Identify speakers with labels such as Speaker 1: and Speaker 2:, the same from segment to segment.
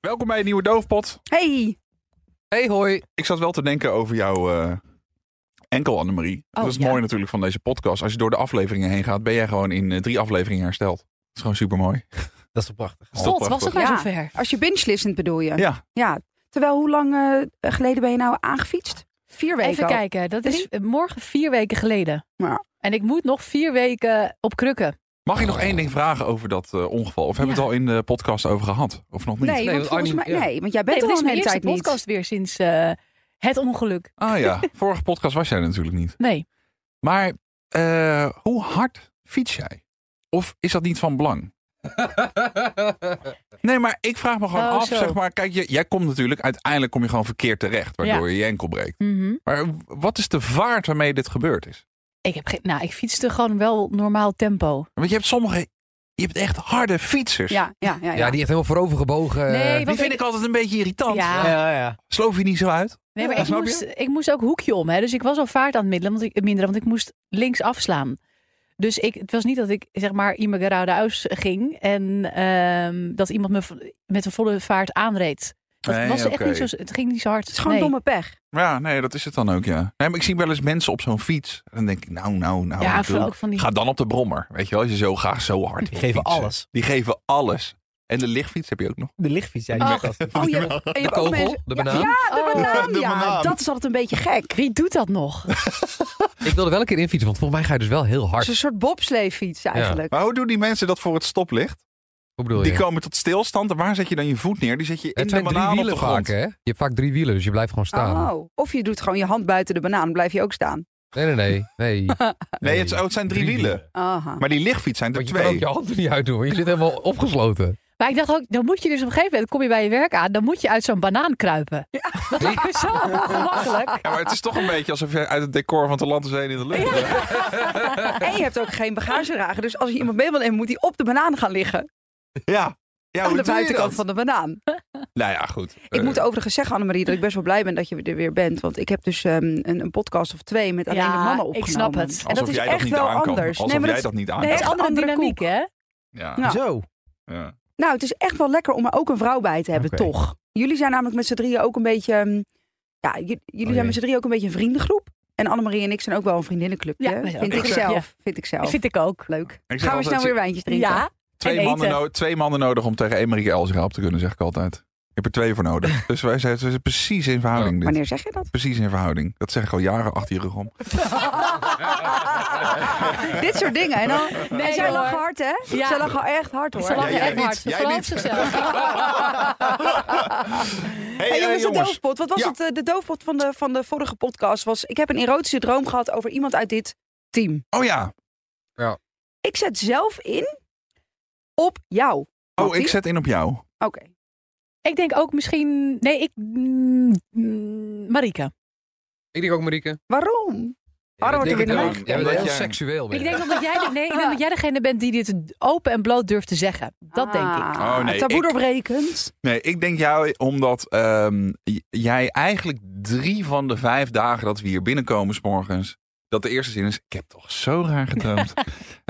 Speaker 1: Welkom bij een nieuwe Doofpot.
Speaker 2: Hey!
Speaker 1: Hey, hoi. Ik zat wel te denken over jouw eh, enkel, Annemarie.
Speaker 2: Oh,
Speaker 1: dat is
Speaker 2: ja.
Speaker 1: mooi natuurlijk van deze podcast. Als je door de afleveringen heen gaat, ben jij gewoon in eh, drie afleveringen hersteld. Dat is gewoon super mooi.
Speaker 3: Dat is toch prachtig.
Speaker 4: God, was het nou
Speaker 2: Ja.
Speaker 4: zover?
Speaker 2: Als je binge-listened bedoel je?
Speaker 1: Ja,
Speaker 2: Ja. Terwijl, hoe lang eh, geleden ben je nou aangefietst? Vier weken
Speaker 4: Even
Speaker 2: al.
Speaker 4: kijken, dat is morgen vier weken geleden.
Speaker 2: Ja.
Speaker 4: En ik moet nog vier weken op krukken.
Speaker 1: Mag ik nog één ding vragen over dat eh, ongeval? Of hebben we het al in de podcast over gehad? Of nog niet?
Speaker 2: Nee,
Speaker 3: Nee,
Speaker 2: want
Speaker 3: want
Speaker 2: volgens
Speaker 3: Arnie-
Speaker 2: mij...
Speaker 3: ja.
Speaker 2: Nee, want jij
Speaker 4: Nee,
Speaker 2: bent
Speaker 4: dit
Speaker 2: al
Speaker 4: is
Speaker 2: een
Speaker 4: mijn
Speaker 2: hele
Speaker 4: eerste
Speaker 2: tijd niet.
Speaker 4: podcast weer sinds eh, het ongeluk.
Speaker 1: Ah ja, vorige podcast was jij natuurlijk niet.
Speaker 4: Nee,
Speaker 1: Maar eh, hoe hard fiets jij? Of is dat niet van belang? Nee, maar ik vraag me gewoon
Speaker 4: Oh,
Speaker 1: af,
Speaker 4: zo.
Speaker 1: zeg maar. Kijk, je- jij komt natuurlijk, uiteindelijk kom je gewoon verkeerd terecht. Waardoor je je enkel breekt.
Speaker 4: Mhm.
Speaker 1: Maar w- wat is de vaart waarmee dit gebeurd is?
Speaker 4: ik, heb geen, nou, ik fietste gewoon wel normaal tempo.
Speaker 1: Want je hebt sommige, je hebt echt harde fietsers.
Speaker 2: Ja, ja, ja. ja.
Speaker 3: Ja, die echt helemaal voorover gebogen.
Speaker 4: Nee,
Speaker 3: eh,
Speaker 1: Die
Speaker 4: want
Speaker 1: vind ik altijd een beetje irritant.
Speaker 4: Ja.
Speaker 3: Ja, ja.
Speaker 1: Sloof je niet zo uit?
Speaker 4: Nee, maar
Speaker 1: Ja,
Speaker 4: ik,
Speaker 1: snap je?
Speaker 4: moest, ik moest ook hoekje om. Hè? Dus ik was al vaart aan het middelen, want ik, minderen, want ik moest links afslaan. Dus ik, het was niet dat ik zeg maar Imagarau de Uis ging en ehm, dat iemand me v- met een volle vaart aanreed. Dat
Speaker 1: Nee,
Speaker 4: was
Speaker 1: oké.
Speaker 4: echt niet zo, het ging niet zo hard.
Speaker 2: Het is gewoon
Speaker 4: nee.
Speaker 2: domme pech.
Speaker 1: Ja, nee, dat is het dan ook, ja. Nee, maar ik zie wel eens mensen op zo'n fiets. En dan denk ik, nou, nou, nou.
Speaker 4: Ja,
Speaker 1: ik
Speaker 4: vooral
Speaker 1: bedoel,
Speaker 4: ook van die.
Speaker 1: Ga dan op de brommer. Weet je wel, als je zo graag zo hard
Speaker 3: Die
Speaker 1: wil
Speaker 3: geven
Speaker 1: fietsen.
Speaker 3: alles.
Speaker 1: Die geven alles. En de lichtfiets heb je ook nog.
Speaker 3: De lichtfiets, ja. Die
Speaker 4: Oh.
Speaker 3: met dat-
Speaker 2: Oh, je, en je
Speaker 3: de
Speaker 2: hebt ook
Speaker 3: kogel,
Speaker 2: mensen-
Speaker 3: de
Speaker 2: Ja,
Speaker 3: banaan.
Speaker 2: Ja, de
Speaker 4: Oh.
Speaker 2: banaan,
Speaker 1: De
Speaker 2: ja.
Speaker 1: banaan.
Speaker 2: Dat is altijd een beetje gek.
Speaker 4: Wie doet dat nog?
Speaker 3: Ik wilde wel een keer infietsen, want volgens mij ga je dus wel heel
Speaker 2: Het is
Speaker 3: hard.
Speaker 2: een soort bobsleefiets eigenlijk.
Speaker 1: Maar hoe doen die mensen dat voor het stoplicht?
Speaker 3: Hoe bedoel
Speaker 1: Die
Speaker 3: je?
Speaker 1: komen tot stilstand. En waar zet je dan je voet neer? Die zet je in
Speaker 3: Oh, Het
Speaker 1: de
Speaker 3: zijn drie
Speaker 1: banaan op de
Speaker 3: wielen
Speaker 1: grond.
Speaker 3: vaak, hè? Je hebt vaak drie wielen, dus je blijft gewoon staan.
Speaker 2: Oh. Of je doet gewoon je hand buiten de banaan, dan blijf je ook staan.
Speaker 3: Nee, nee, nee. Nee,
Speaker 1: Nee, het, oh, het zijn drie, wielen.
Speaker 2: Aha.
Speaker 1: Maar die lichtfiets zijn er
Speaker 3: Want je kan ook
Speaker 1: twee.
Speaker 3: je hand er niet uit doen, hoor. je zit helemaal opgesloten.
Speaker 4: Maar ik dacht ook, dan moet je dus op een gegeven moment, kom je bij je werk aan, dan moet je uit zo'n banaan kruipen. Dat lijkt me zo ongemakkelijk.
Speaker 1: Ja, maar het is toch een beetje alsof je uit het decor van Talanten zijn in de lucht.
Speaker 2: En je hebt ook geen bagagedrager. Dus als je iemand mee wil nemen, moet hij op de banaan gaan liggen.
Speaker 1: Ja. Ja,
Speaker 2: aan
Speaker 1: hoe
Speaker 2: de
Speaker 1: doe je
Speaker 2: buitenkant
Speaker 1: dat?
Speaker 2: van de banaan.
Speaker 1: Nou ja, goed.
Speaker 2: Ik moet overigens zeggen, Annemarie, dat ik best wel blij ben dat je er weer bent. Want ik heb dus ehm, een, een podcast of twee met alleen
Speaker 4: Ja,
Speaker 2: de mannen
Speaker 4: ik
Speaker 2: opgenomen.
Speaker 4: snap het.
Speaker 2: En
Speaker 1: Alsof
Speaker 2: dat is
Speaker 1: jij
Speaker 2: echt
Speaker 1: dat niet
Speaker 2: wel
Speaker 1: aan kan.
Speaker 2: anders.
Speaker 1: Alsof
Speaker 2: nee, maar
Speaker 1: jij
Speaker 2: dat
Speaker 1: dat niet aan
Speaker 2: nee,
Speaker 1: kan.
Speaker 4: Het is
Speaker 2: echt
Speaker 4: andere
Speaker 2: andere
Speaker 4: dynamiek, hè?
Speaker 1: Ja.
Speaker 2: Ja.
Speaker 3: Zo.
Speaker 1: Ja.
Speaker 2: Nou, het is echt wel lekker om er ook een vrouw bij te hebben,
Speaker 3: Oké.
Speaker 2: toch? Jullie zijn namelijk met z'n drieën ook een beetje... ehm, ja, j-
Speaker 1: Oh,
Speaker 2: jullie
Speaker 3: jee.
Speaker 2: zijn met z'n drieën ook een beetje een vriendengroep. En Annemarie en ik zijn ook wel een vriendinnenclubje.
Speaker 4: Ja, wij zijn
Speaker 2: vind,
Speaker 4: ook
Speaker 2: ik
Speaker 4: een
Speaker 2: zelf,
Speaker 4: clubje.
Speaker 2: vind ik zelf.
Speaker 4: Dat vind ik ook.
Speaker 2: Leuk.
Speaker 1: zeg
Speaker 2: Gaan we
Speaker 1: altijd,
Speaker 2: snel
Speaker 1: je-
Speaker 2: weer wijntjes drinken?
Speaker 4: Ja,
Speaker 1: Twee,
Speaker 4: En
Speaker 1: mannen
Speaker 4: eten.
Speaker 1: no- twee mannen nodig om tegen Emery Elzega op te kunnen, zeg ik altijd. Ik heb er twee voor nodig. Dus wij zijn, we zijn precies in verhouding. dit.
Speaker 2: Oh, Wanneer zeg je dat?
Speaker 1: Precies in verhouding. Dat zeg ik al jaren achter je rug om.
Speaker 2: Dit soort dingen. En dan, en zij
Speaker 4: hoor.
Speaker 2: lachen hard, hè?
Speaker 4: Ja.
Speaker 2: Zij lachen echt hard, hoor.
Speaker 4: ze lachen
Speaker 1: jij
Speaker 4: echt
Speaker 1: niet.
Speaker 4: hard. Ze
Speaker 1: Jij
Speaker 4: verloopt
Speaker 1: niet.
Speaker 4: zichzelf.
Speaker 1: Hey,
Speaker 2: Hey, jongens,
Speaker 1: eh,
Speaker 2: de doofpot. Wat was
Speaker 1: Ja.
Speaker 2: het? eh, De doofpot van de, van de vorige podcast was... Ik heb een erotische droom gehad over iemand uit dit team.
Speaker 1: Oh ja.
Speaker 2: Ik zet zelf in op jou.
Speaker 1: Oh,
Speaker 2: Mattie.
Speaker 1: ik zet in op jou.
Speaker 2: Oké.
Speaker 4: Ik denk ook misschien. Nee, ik. mm, mm, Marike.
Speaker 3: Ik denk ook Marieke.
Speaker 2: Waarom? Waarom wordt er weer
Speaker 3: Ik denk
Speaker 2: naar
Speaker 3: het
Speaker 1: leuk?
Speaker 3: ook. Ja,
Speaker 1: Ja,
Speaker 3: omdat je
Speaker 1: dat
Speaker 3: heel
Speaker 1: jij-
Speaker 3: seksueel bent.
Speaker 4: Ik denk ook dat jij, de- nee, ik denk dat jij degene bent die dit open en bloot durft te zeggen. Dat denk
Speaker 2: Ah.
Speaker 4: ik.
Speaker 1: Oh, nee,
Speaker 2: Taboe
Speaker 1: ik-
Speaker 2: doorbrekend.
Speaker 1: Nee, ik denk jou omdat ehm, j- jij eigenlijk drie van de vijf dagen dat we hier binnenkomen 's morgens. Dat de eerste zin is, ik heb toch zo raar gedroomd. en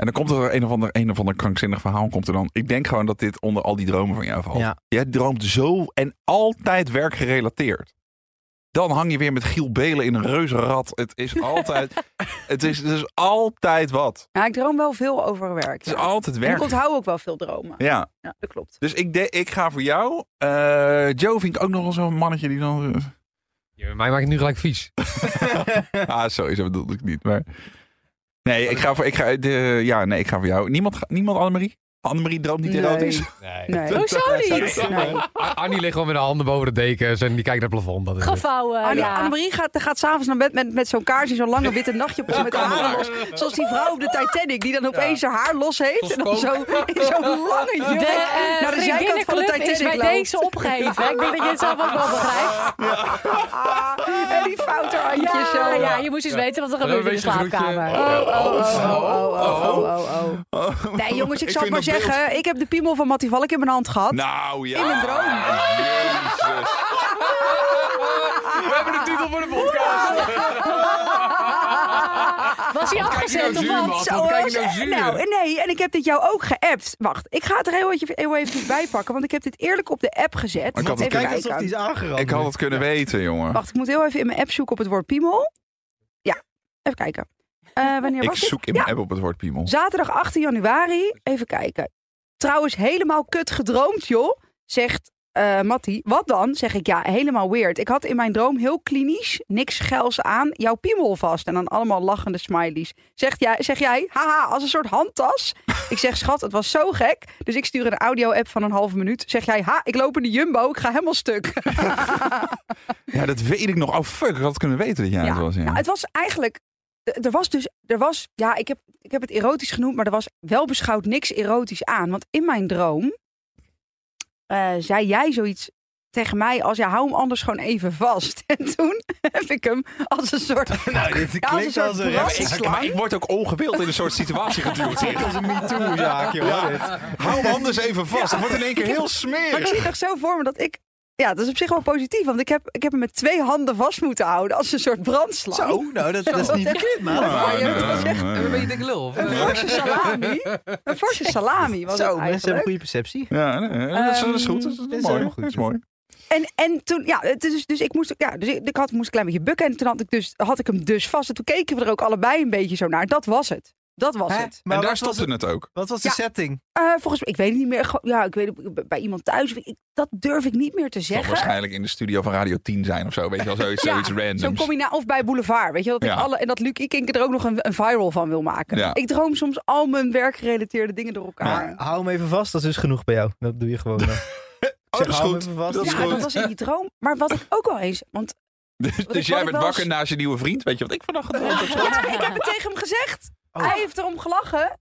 Speaker 1: dan komt er een of, ander, een of ander krankzinnig verhaal. Komt er dan. Ik denk gewoon dat dit onder al die dromen van jou valt.
Speaker 3: Ja.
Speaker 1: Jij droomt zo en altijd werkgerelateerd. Dan hang je weer met Giel Belen in een reuzenrad. Het is altijd, het is, het is altijd wat.
Speaker 2: Ja, ik droom wel veel over werk.
Speaker 1: Het is
Speaker 2: ja.
Speaker 1: altijd
Speaker 2: En ik
Speaker 1: werk.
Speaker 2: onthoud ook wel veel dromen.
Speaker 1: Ja.
Speaker 2: Ja, dat klopt.
Speaker 1: Dus ik, de- ik ga voor jou. Eh, Joe vind ik ook nog wel zo'n mannetje die dan...
Speaker 3: Ja, Mij maakt het nu gelijk vies.
Speaker 1: ah, sowieso bedoelde ik niet. Maar... Nee, ik ga voor, ik ga, de, ja, nee, ik ga voor jou. Niemand, ga- niemand Annemarie? Annemarie droomt niet
Speaker 2: Nee.
Speaker 1: erotisch?
Speaker 2: Nee.
Speaker 4: Hoezo niet?
Speaker 2: Nee.
Speaker 3: Ar- Arnie ligt gewoon met de handen boven de dekens en die kijkt naar het plafond. Dat is het.
Speaker 4: Gevouwen.
Speaker 2: Anne-
Speaker 4: Oh, ja.
Speaker 2: Annemarie gaat, gaat s'avonds naar bed met, met zo'n kaars in zo'n lange witte nachtje op met haar haren los. Zoals die vrouw op de Titanic die dan opeens haar haar los heeft. En dan zo in zo'n lange
Speaker 4: De
Speaker 2: jurk
Speaker 4: eh,
Speaker 2: naar de zijkant van de
Speaker 4: vriendinnenclub is bij
Speaker 2: Titanic loopt.
Speaker 4: deze opgeheven. Ik denk dat je het zelf ook wel begrijpt.
Speaker 2: Ah, en die foute handjes
Speaker 4: Ja,
Speaker 2: zo.
Speaker 4: ja, je moest eens weten wat er
Speaker 3: hebben
Speaker 4: gebeurt in de
Speaker 3: een beetje
Speaker 4: slaapkamer.
Speaker 2: Oh, oh, oh, oh, oh, oh, oh, oh. Nee jongens, ik
Speaker 1: Ik
Speaker 2: zal het
Speaker 1: vind
Speaker 2: maar
Speaker 1: dat beeld-
Speaker 2: zeggen. Ik heb de piemel van Mattie Valk in mijn hand gehad.
Speaker 1: Nou ja.
Speaker 2: In een droom.
Speaker 1: Jezus.
Speaker 2: Ah,
Speaker 3: We hebben de titel voor de podcast.
Speaker 4: Was hij afgezet of
Speaker 3: zuur, man?
Speaker 4: wat?
Speaker 3: Wat kijk
Speaker 2: was-
Speaker 3: je nou zuur?
Speaker 2: nou, nee, en ik heb dit jou ook geappt. Wacht, ik ga het er heel even, heel even bij pakken, want ik heb dit eerlijk op de app gezet.
Speaker 1: Maar ik had
Speaker 2: even
Speaker 1: het
Speaker 2: kijken.
Speaker 1: Kijk
Speaker 5: Kijk alsof die is aangerand.
Speaker 1: Ik had het kunnen weten, jongen.
Speaker 2: Wacht, ik moet heel even in mijn app zoeken op het woord piemel. Ja, even kijken. Eh, wanneer
Speaker 1: ik
Speaker 2: was dit?
Speaker 1: zoek in
Speaker 2: Ja,
Speaker 1: mijn app op het woord piemel.
Speaker 2: Zaterdag 18 januari. Even kijken. Trouwens, helemaal kut gedroomd, joh. Zegt eh Mattie. Wat dan? Zeg ik, ja, helemaal weird. Ik had in mijn droom heel klinisch, niks geils aan, jouw piemel vast. En dan allemaal lachende smileys. Zegt jij, zeg jij, haha, als een soort handtas. Ik zeg, schat, het was zo gek. Dus ik stuur een audio-app van een halve minuut. Zeg jij, ha, ik loop in de jumbo, ik ga helemaal stuk.
Speaker 1: Ja, dat weet ik nog. Oh fuck, ik had het kunnen weten dat jij het was. Ja.
Speaker 2: Nou, het was eigenlijk. d- Er was dus. Er was. Ja, ik heb, ik heb het erotisch genoemd. Maar er was wel beschouwd niks erotisch aan. Want in mijn droom. eh, zei jij zoiets tegen mij. Als ja, hou hem anders gewoon even vast. En toen heb ik hem als een soort.
Speaker 5: Nou,
Speaker 2: Ja,
Speaker 5: dit
Speaker 2: als een
Speaker 5: klinkt
Speaker 2: soort
Speaker 5: als een
Speaker 2: brand-
Speaker 5: reactie.
Speaker 1: ik, maar ik word ook ongewild in een soort situatie geduwd
Speaker 5: Dit
Speaker 1: hier.
Speaker 5: is een MeToo-jaak, joh. dit.
Speaker 1: Hou hem anders even vast. Het wordt in één keer heel
Speaker 2: Maar ik
Speaker 1: smerig.
Speaker 2: zie het nog zo voor me dat ik. Ja, dat is op zich wel positief. Want ik heb, ik heb hem met twee handen vast moeten houden. Als een soort brandslang.
Speaker 5: Zo, nou, dat, dat is niet verkeerd, man.
Speaker 2: Ja, je hebt gezegd,
Speaker 1: nee,
Speaker 3: Ben
Speaker 1: nee.
Speaker 3: je dik lul? of-
Speaker 2: Een forse salami. Een forse salami was
Speaker 5: Zo,
Speaker 2: het
Speaker 5: mensen hebben
Speaker 2: eigenlijk.
Speaker 5: goede perceptie.
Speaker 1: Ja, nee, nee, dat, is, dat is goed.
Speaker 2: Ehm,
Speaker 1: Dat is,
Speaker 2: dus,
Speaker 5: Dit is
Speaker 1: mooi.
Speaker 2: eh,
Speaker 5: helemaal goed.
Speaker 1: Dat is mooi.
Speaker 2: En, en toen, ja, het is dus, dus ik moest, ja, dus ik, ik had, moest een klein beetje bukken. En toen had ik, dus, had ik hem dus vast. En toen keken we er ook allebei een beetje zo naar. Dat was het. Dat was
Speaker 5: Hè?
Speaker 2: het.
Speaker 1: en
Speaker 5: wat
Speaker 1: daar
Speaker 5: was
Speaker 1: stopte
Speaker 5: het-
Speaker 1: het ook.
Speaker 5: Wat was de
Speaker 2: Ja.
Speaker 5: setting?
Speaker 2: Eh, volgens mij, ik weet het niet meer. Gewoon- Ja, ik weet het, bij iemand thuis. Ik, dat durf ik niet meer te
Speaker 1: Het zal
Speaker 2: zeggen.
Speaker 1: waarschijnlijk in de studio van Radio 10 zijn of zo. Weet je wel, zoiets,
Speaker 2: Ja,
Speaker 1: zoiets randoms.
Speaker 2: Zo kom je na, of bij Boulevard, weet je wel, dat ik
Speaker 1: Ja.
Speaker 2: alle, en dat Luc Ikinke er ook nog een, een viral van wil maken.
Speaker 1: Ja. ah,
Speaker 2: Ik droom soms al mijn werkgerelateerde dingen door elkaar.
Speaker 5: Maar hou hem even vast, dat is dus genoeg bij jou. Dat doe je gewoon. eh. dan.
Speaker 1: Oh,
Speaker 5: Ik zeg,
Speaker 1: dat is
Speaker 5: hou
Speaker 1: goed.
Speaker 5: hem even vast.
Speaker 1: Dat is
Speaker 2: ja,
Speaker 1: goed.
Speaker 2: dat was in die droom. Maar wat ik ook wel eens, want
Speaker 1: Dus,
Speaker 2: ik- wat
Speaker 1: dus jij
Speaker 2: ik
Speaker 1: bent
Speaker 2: wel
Speaker 1: wakker
Speaker 2: eens-
Speaker 1: naast je nieuwe vriend. Weet je wat ik vandaag gedroomd heb?
Speaker 2: ja, ik heb het tegen hem gezegd.
Speaker 5: Oh.
Speaker 2: Hij heeft erom gelachen.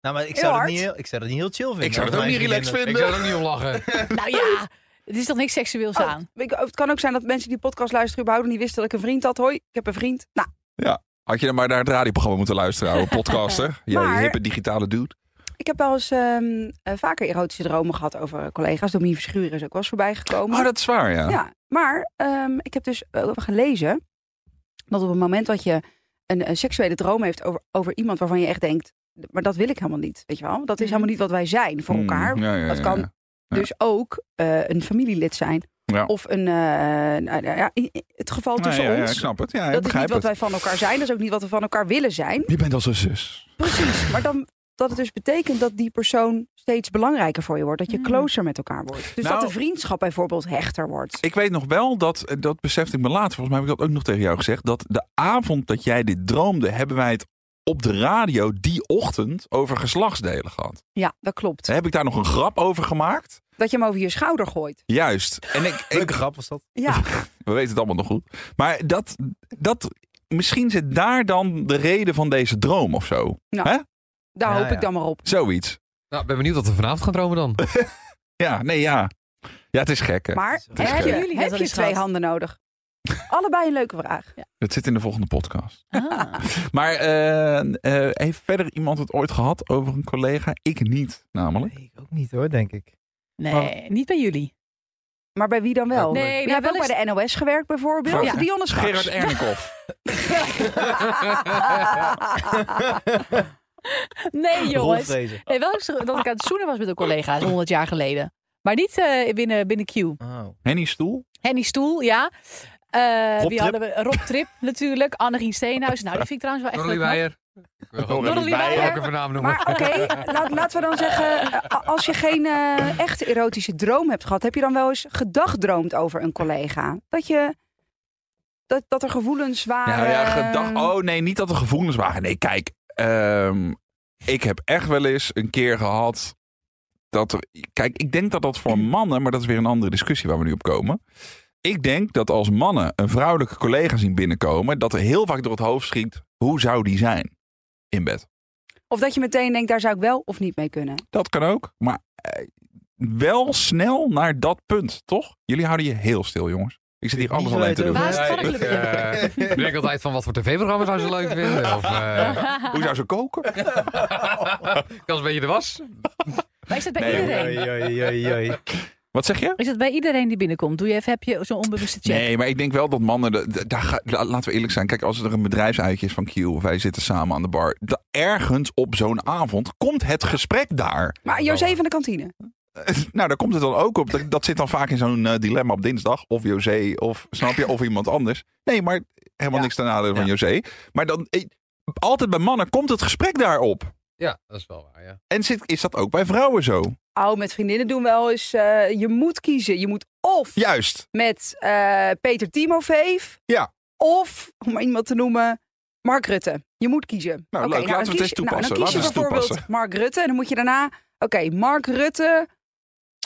Speaker 5: Nou, maar ik
Speaker 2: Heel
Speaker 5: zou, dat
Speaker 2: hard.
Speaker 5: niet heel, ik zou dat niet heel chill vinden.
Speaker 1: Ik zou
Speaker 5: als
Speaker 1: het ook
Speaker 5: mijn
Speaker 1: niet relaxed
Speaker 5: vriendin
Speaker 3: Ik
Speaker 1: vinden.
Speaker 3: zou er ook niet om lachen.
Speaker 4: Nou ja, het is toch niks seksueels
Speaker 2: Oh,
Speaker 4: aan?
Speaker 2: Ik- het kan ook zijn dat mensen die podcast luisteren überhaupt niet wisten dat ik een vriend had. Hoi, ik heb een vriend. Nou,
Speaker 1: Had je dan maar naar het radioprogramma moeten luisteren, oude podcaster. Jij
Speaker 2: Maar-
Speaker 1: hippe digitale dude.
Speaker 2: ik heb wel eens ehm, eh, vaker erotische dromen gehad over collega's. Domien Verschuren is ook wel eens voorbij gekomen.
Speaker 1: Oh, dat is waar, ja.
Speaker 2: Ja, maar ehm, ik heb dus eh, gelezen dat op het moment dat je een, eh, seksuele droom heeft over, over iemand waarvan je echt denkt, maar dat wil ik helemaal niet, weet je wel? Dat is helemaal niet wat wij zijn voor elkaar.
Speaker 1: Hmm, ja, ja,
Speaker 2: dat
Speaker 1: ja,
Speaker 2: kan
Speaker 1: ja. Ja.
Speaker 2: Dus ook eh, een familielid zijn.
Speaker 1: Ja.
Speaker 2: Of een, eh, nou, nou ja, i- i- het geval
Speaker 1: Nee,
Speaker 2: tussen
Speaker 1: ja, ja,
Speaker 2: ons.
Speaker 1: ik snap het. Ja, ik
Speaker 2: dat is niet
Speaker 1: begrijp
Speaker 2: wat
Speaker 1: het.
Speaker 2: wij van elkaar zijn. Dat is ook niet wat we van elkaar willen zijn.
Speaker 1: Je bent als een zus.
Speaker 2: Precies, maar dan dat het dus betekent dat die persoon steeds belangrijker voor je wordt. Dat je
Speaker 4: Mm.
Speaker 2: closer met elkaar wordt. Dus
Speaker 1: Nou-
Speaker 2: dat de vriendschap bijvoorbeeld hechter wordt.
Speaker 1: Ik weet nog wel dat, eh, dat besefte ik me later, volgens mij heb ik dat ook nog tegen jou gezegd, dat de avond dat jij dit droomde, hebben wij het op de radio die ochtend over geslachtsdelen gehad.
Speaker 2: Ja, dat klopt.
Speaker 1: Heb ik daar nog een grap over gemaakt?
Speaker 2: Dat je hem over je schouder gooit.
Speaker 1: Juist. En ik, ik-
Speaker 5: Leuke grap was dat.
Speaker 2: Ja,
Speaker 1: we weten het allemaal nog goed. Maar dat, dat, misschien zit daar dan de reden van deze droom of zo.
Speaker 2: daar
Speaker 5: Ja,
Speaker 2: hoop
Speaker 5: ja.
Speaker 2: ik dan maar op.
Speaker 1: Zoiets.
Speaker 3: Nou, ben benieuwd wat we vanavond gaan dromen dan.
Speaker 1: Ja, nee, ja. Ja, het is gek, hè.
Speaker 2: Maar
Speaker 5: Het is
Speaker 2: heb
Speaker 1: gek.
Speaker 2: je,
Speaker 4: Jullie net
Speaker 2: heb
Speaker 4: al
Speaker 2: je
Speaker 4: eens
Speaker 2: twee
Speaker 4: gehad.
Speaker 2: handen nodig? Allebei een leuke vraag.
Speaker 1: Het zit in de volgende podcast.
Speaker 4: Ah.
Speaker 1: Maar eh, eh, heeft verder iemand het ooit gehad over een collega? Ik niet, namelijk.
Speaker 5: Nee, ik ook niet hoor, denk ik.
Speaker 1: Oh.
Speaker 4: Nee, niet bij jullie.
Speaker 2: Maar bij wie dan wel?
Speaker 4: Nee,
Speaker 2: je
Speaker 4: nou,
Speaker 2: hebt
Speaker 4: wel
Speaker 2: ook bij de NOS gewerkt bijvoorbeeld.
Speaker 1: Vraag, hè?
Speaker 2: Dionne Schaks.
Speaker 1: Gerard Ernikoff.
Speaker 4: Nee, jongens.
Speaker 5: Rolvrezen.
Speaker 4: Nee, wel eens dat ik aan het zoenen was met een collega 100 jaar geleden. Maar niet eh, binnen, binnen Q.
Speaker 5: Oh.
Speaker 1: Henny Stoel.
Speaker 4: Henny Stoel, ja. Eh,
Speaker 1: Rob
Speaker 4: wie
Speaker 1: Trip.
Speaker 4: hadden we? Rob Trip natuurlijk. Annegien Steenhuis. Nou, die vind ik trouwens wel echt
Speaker 3: Dorly
Speaker 4: leuk. man.
Speaker 3: Weijer. Ik
Speaker 1: Dorly
Speaker 3: wil gewoon
Speaker 4: Dorly
Speaker 1: Weijer.
Speaker 4: Weijer.
Speaker 3: Welke voornaam noemen?
Speaker 2: Maar oké, laat- laten we dan zeggen, eh, als je geen eh, echte erotische droom hebt gehad, heb je dan wel eens gedagdroomd over een collega? Dat je dat, dat er gevoelens
Speaker 1: Nou
Speaker 2: waren. ehm,
Speaker 1: ja, gedag. Oh nee, niet dat er gevoelens waren. Nee, kijk. ehm, ik heb echt wel eens een keer gehad. Dat er, kijk, ik denk dat dat voor
Speaker 5: Mm.
Speaker 1: mannen, maar dat is weer een andere discussie waar we nu op komen. Ik denk dat als mannen een vrouwelijke collega zien binnenkomen, dat er heel vaak door het hoofd schiet: hoe zou die zijn in bed?
Speaker 2: Of dat je meteen denkt, daar zou ik wel of niet mee kunnen.
Speaker 1: Dat kan ook, maar eh, wel snel naar dat punt, toch? Jullie houden je heel stil, jongens. Ik zit hier alles
Speaker 5: Niet
Speaker 1: alleen
Speaker 5: weten
Speaker 1: te doen.
Speaker 5: hoe
Speaker 4: Waar is het
Speaker 3: Nee,
Speaker 4: varkentje?
Speaker 3: ik, eh, bedenk altijd van wat voor tv-programma's zou ze leuk vinden. Of eh,
Speaker 1: Hoe zou ze koken?
Speaker 3: ik was een beetje de was.
Speaker 4: Maar is dat bij
Speaker 1: Nee,
Speaker 4: iedereen?
Speaker 5: Oei, Oh, oei, oei, oei.
Speaker 1: Wat zeg je?
Speaker 4: Is dat bij iedereen die binnenkomt? Doe je even, heb je zo'n onbewuste check?
Speaker 1: Nee, maar ik denk wel dat mannen. de- de- daar ga- la- laten we eerlijk zijn. Kijk, als er een bedrijfsuitje is van Q. of wij zitten samen aan de bar. da- ergens op zo'n avond komt het gesprek daar.
Speaker 2: Maar José van de kantine.
Speaker 1: Nou, daar komt het dan ook op. Dat, dat zit dan vaak in zo'n eh, dilemma op dinsdag. Of José, of snap je, of iemand anders. Nee, maar helemaal
Speaker 5: Ja.
Speaker 1: niks ten nadele van
Speaker 5: Ja.
Speaker 1: José. Maar dan, eh, altijd bij mannen komt het gesprek daarop.
Speaker 3: Ja, dat is wel waar, ja.
Speaker 1: En zit, is dat ook bij vrouwen zo?
Speaker 2: Oh, met vriendinnen doen wel eens. eh, je moet kiezen. Je moet of
Speaker 1: Juist.
Speaker 2: met eh, Peter Timofeef.
Speaker 1: Ja.
Speaker 2: Of, om maar iemand te noemen, Mark Rutte. Je moet kiezen.
Speaker 1: Nou,
Speaker 2: Oké,
Speaker 1: leuk. Laten we
Speaker 2: dan
Speaker 1: het
Speaker 2: kies
Speaker 1: eens
Speaker 2: je-
Speaker 1: toepassen.
Speaker 2: Nou, dan kies
Speaker 1: Laten
Speaker 2: je
Speaker 1: we het
Speaker 2: bijvoorbeeld Mark Rutte. En dan moet je daarna, oké, Mark Rutte.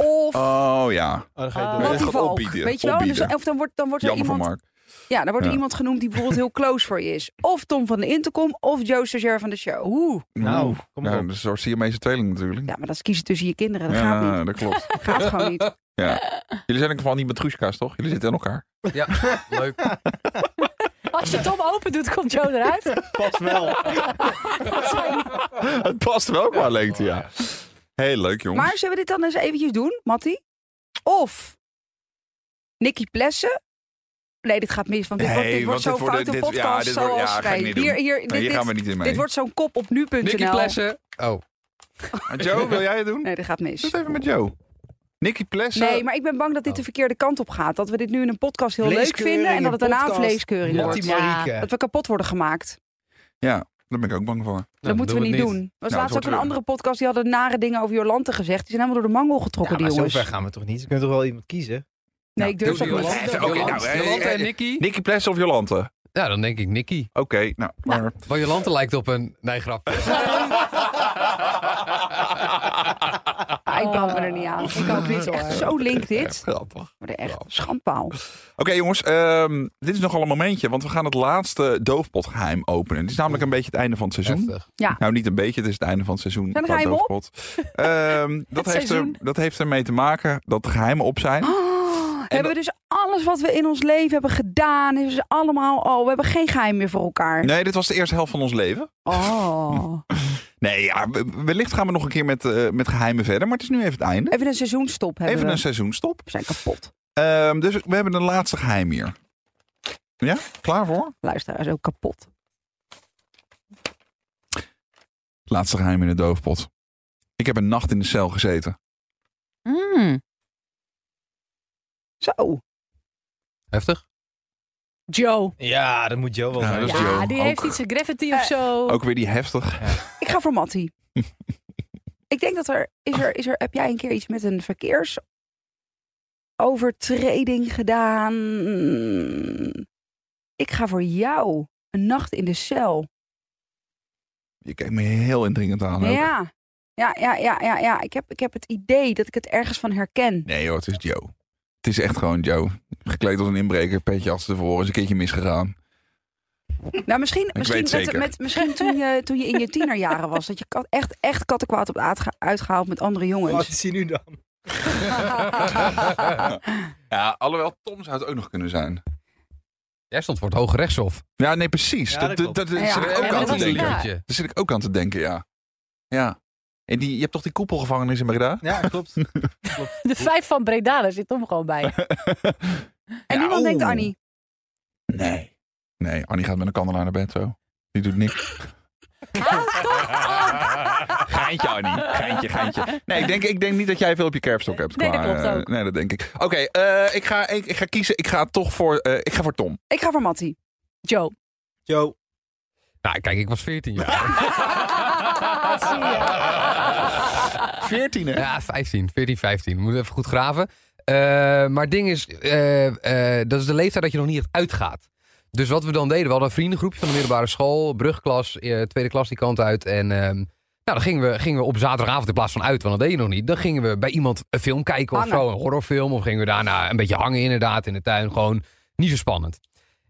Speaker 2: Of
Speaker 1: Oh ja.
Speaker 5: Oh, dan
Speaker 4: Ah.
Speaker 5: ga je
Speaker 4: Wat
Speaker 5: door.
Speaker 2: Mattie
Speaker 1: gaat
Speaker 2: Valk.
Speaker 1: opbieden.
Speaker 2: Weet je wel? Dus,
Speaker 1: Opbieden.
Speaker 2: of dan wordt, dan wordt er
Speaker 1: Jammer voor
Speaker 2: iemand
Speaker 1: Mark.
Speaker 2: Ja, dan wordt er
Speaker 1: Ja.
Speaker 2: iemand genoemd die bijvoorbeeld heel close voor je is. Of Tom van de Intercom of Joe Stagiair van de show.
Speaker 4: Oeh,
Speaker 5: Nou, kom
Speaker 1: Ja,
Speaker 5: op.
Speaker 1: een soort Siamese tweeling natuurlijk.
Speaker 2: Ja, maar dat is kiezen tussen je kinderen. Dat
Speaker 1: Ja,
Speaker 2: gaat niet.
Speaker 1: dat klopt.
Speaker 2: Dat gaat gewoon niet.
Speaker 1: Jullie zijn ook van die matrushka's, toch? Jullie zitten in elkaar.
Speaker 3: Ja, leuk.
Speaker 4: als je Tom open doet, komt Joe eruit.
Speaker 5: Pas wel.
Speaker 1: het past wel qua lengte, ja. Heel leuk, jongens.
Speaker 2: Maar zullen we dit dan eens eventjes doen, Matty? Of Nicky Plessen. Nee, dit gaat mis, want dit
Speaker 1: Nee,
Speaker 2: wordt, dit wordt
Speaker 1: want dit
Speaker 2: zo'n
Speaker 1: wordt-
Speaker 2: foute
Speaker 1: dit- ja,
Speaker 2: podcast
Speaker 1: dit wordt- ja,
Speaker 2: zoals
Speaker 1: ga ik
Speaker 2: wij.
Speaker 1: niet doen.
Speaker 2: Hier, hier, dit,
Speaker 1: Nee, hier
Speaker 2: dit-
Speaker 1: gaan we niet in mee.
Speaker 2: dit wordt zo'n kop op nu.nl.
Speaker 3: Nicky Plessen. Oh,
Speaker 1: Maar Joe, wil jij het doen?
Speaker 2: Nee, dit gaat
Speaker 1: Doe
Speaker 2: mis.
Speaker 1: het even met Joe. Nicky Plessen.
Speaker 2: Nee, maar ik ben bang dat dit de verkeerde kant op gaat. Dat we dit nu in een podcast heel leuk
Speaker 5: Vleeskeuring,
Speaker 2: vinden en dat het
Speaker 5: een
Speaker 2: daarna een
Speaker 5: podcast.
Speaker 2: vleeskeuring
Speaker 3: Ja.
Speaker 2: wordt.
Speaker 5: Mattie Marieke.
Speaker 2: Dat we kapot worden gemaakt.
Speaker 1: Daar ben ik ook bang voor.
Speaker 2: dat moeten we niet doen. Er was
Speaker 1: Nou,
Speaker 2: laatst
Speaker 1: het
Speaker 2: ook
Speaker 1: wordt
Speaker 2: een andere podcast die hadden nare dingen over Jolante gezegd. Die zijn helemaal door de mangel
Speaker 5: Ja,
Speaker 2: getrokken,
Speaker 5: maar
Speaker 2: die
Speaker 5: zo
Speaker 2: jongens.
Speaker 5: ver gaan we toch niet? Je kunt toch wel iemand kiezen?
Speaker 2: Nee, ik durf
Speaker 1: doe
Speaker 2: dat
Speaker 1: die
Speaker 2: niet. eh,
Speaker 1: Jolante.
Speaker 3: Jolanda,
Speaker 1: Oké, nou, hey,
Speaker 3: Jolanda
Speaker 1: hey,
Speaker 3: en Nicky.
Speaker 1: Nicky Plessen of Jolante? Oké,
Speaker 3: Ja, dan denk ik Nicky.
Speaker 1: nou. Maar...
Speaker 3: Maar Jolante lijkt op een... Nee, grap.
Speaker 2: Ah, ik brand me er niet aan. Ik ook niet. Echt zo link dit.
Speaker 1: Grappig.
Speaker 2: Wordt echt schandpaal.
Speaker 1: Oké jongens, ehm, dit is nogal een momentje, want we gaan het laatste doofpotgeheim openen. Het is namelijk een beetje het einde van het seizoen.
Speaker 3: Heftig.
Speaker 1: Nou, niet een beetje, het is het einde van het seizoen.
Speaker 2: Zijn er
Speaker 1: van
Speaker 2: geheimen op?
Speaker 1: Doofpot. Ehm, dat, heeft er,
Speaker 4: seizoen.
Speaker 1: dat heeft ermee te maken dat er geheimen op
Speaker 2: Oh.
Speaker 1: zijn.
Speaker 2: hebben we dus alles wat we in ons leven hebben gedaan, is dus allemaal, oh, we hebben geen geheim meer voor elkaar.
Speaker 1: Nee, dit was de eerste helft van ons leven.
Speaker 2: Oh.
Speaker 1: Nee, ja, we- wellicht gaan we nog een keer met, eh, met geheimen verder, maar het is nu even het einde.
Speaker 2: Even een seizoenstop hebben
Speaker 1: Even
Speaker 2: we.
Speaker 1: een seizoenstop.
Speaker 2: We zijn kapot.
Speaker 1: Ehm, dus we hebben een laatste geheim hier. Ja, klaar voor?
Speaker 2: Luisteraars ook kapot.
Speaker 1: Laatste geheim in de doofpot. Ik heb een nacht in de cel gezeten.
Speaker 4: Mm.
Speaker 2: Zo.
Speaker 3: Heftig?
Speaker 4: Joe.
Speaker 5: Ja, dat moet Joe wel
Speaker 1: Ja,
Speaker 5: zijn.
Speaker 1: dat is
Speaker 4: Ja,
Speaker 1: Joe.
Speaker 4: die
Speaker 1: Ook-
Speaker 4: heeft iets, een gravity of
Speaker 2: Eh,
Speaker 4: zo.
Speaker 1: Ook weer die heftig.
Speaker 2: Ik ga voor Matty. ik denk dat er is, er, is er, heb jij een keer iets met een verkeersovertreding gedaan? Ik ga voor jou. Een nacht in de cel.
Speaker 1: Je kijkt me heel indringend aan. ook.
Speaker 2: Ja. Ja, ja, ja, ja, ja. Ik heb, ik heb het idee dat ik het ergens van herken.
Speaker 1: Nee hoor, het is Joe. Het is echt gewoon Joe. Gekleed als een inbreker, petje als tevoren, is een keertje misgegaan.
Speaker 2: Nou, misschien,
Speaker 1: weet
Speaker 2: misschien, met-
Speaker 1: zeker.
Speaker 2: Met, misschien toen, je, toen je in je tienerjaren was. Dat je kat- echt, echt kattenkwaad op uitge- uitgehaald met andere
Speaker 5: Wat
Speaker 2: jongens.
Speaker 5: is hij nu dan?
Speaker 1: Ja, alhoewel Tom zou het ook nog kunnen zijn.
Speaker 3: Jij stond voor het Hoge Rechtshof.
Speaker 1: Ja, nee, precies.
Speaker 5: Ja,
Speaker 1: dat
Speaker 5: dat
Speaker 1: dat, dat,
Speaker 5: klopt.
Speaker 2: Ja,
Speaker 1: zit ik
Speaker 2: Ah, ja,
Speaker 1: ook
Speaker 2: maar
Speaker 1: aan
Speaker 4: dat
Speaker 1: te
Speaker 4: is
Speaker 1: denken.
Speaker 4: waar.
Speaker 1: Daar zit ik ook aan te denken, ja. Ja. En die, je hebt toch die koepelgevangenis in Breda?
Speaker 5: Ja, klopt.
Speaker 4: De vijf van Breda, daar zit Tom gewoon bij.
Speaker 2: En
Speaker 1: Ja,
Speaker 2: niemand denkt
Speaker 1: oeh.
Speaker 2: Annie.
Speaker 1: Nee. Nee, Annie gaat met een kandelaar naar bed zo. Die doet niks. Geintje, Annie. Geintje, geintje. Nee, ik denk, ik denk niet dat jij veel op je kerfstok hebt.
Speaker 4: Nee, dat
Speaker 1: qua,
Speaker 4: klopt
Speaker 1: eh,
Speaker 4: ook.
Speaker 1: nee, dat denk ik. Oké, eh, ik, ga, ik, ik ga kiezen. Ik ga toch voor, eh, ik ga voor Tom.
Speaker 2: Ik ga voor Matty.
Speaker 4: Joe.
Speaker 5: Joe.
Speaker 3: Nou, kijk, ik was 14 jaar.
Speaker 4: Zie je.
Speaker 1: 14, hè?
Speaker 3: Ja, 15, 14, 15. Moet even goed graven. Eh, maar het ding is, eh, eh, dat is de leeftijd dat je nog niet echt uitgaat. Dus wat we dan deden, we hadden een vriendengroepje van de middelbare school, brugklas, eh, tweede klas die kant uit. En ehm, nou, dan gingen we, gingen we op zaterdagavond in plaats van uit, want dat deed je nog niet. Dan gingen we bij iemand een film kijken of
Speaker 2: Hangen.
Speaker 3: zo, een horrorfilm. Of gingen we daarna een beetje hangen inderdaad in de tuin. Gewoon niet zo spannend.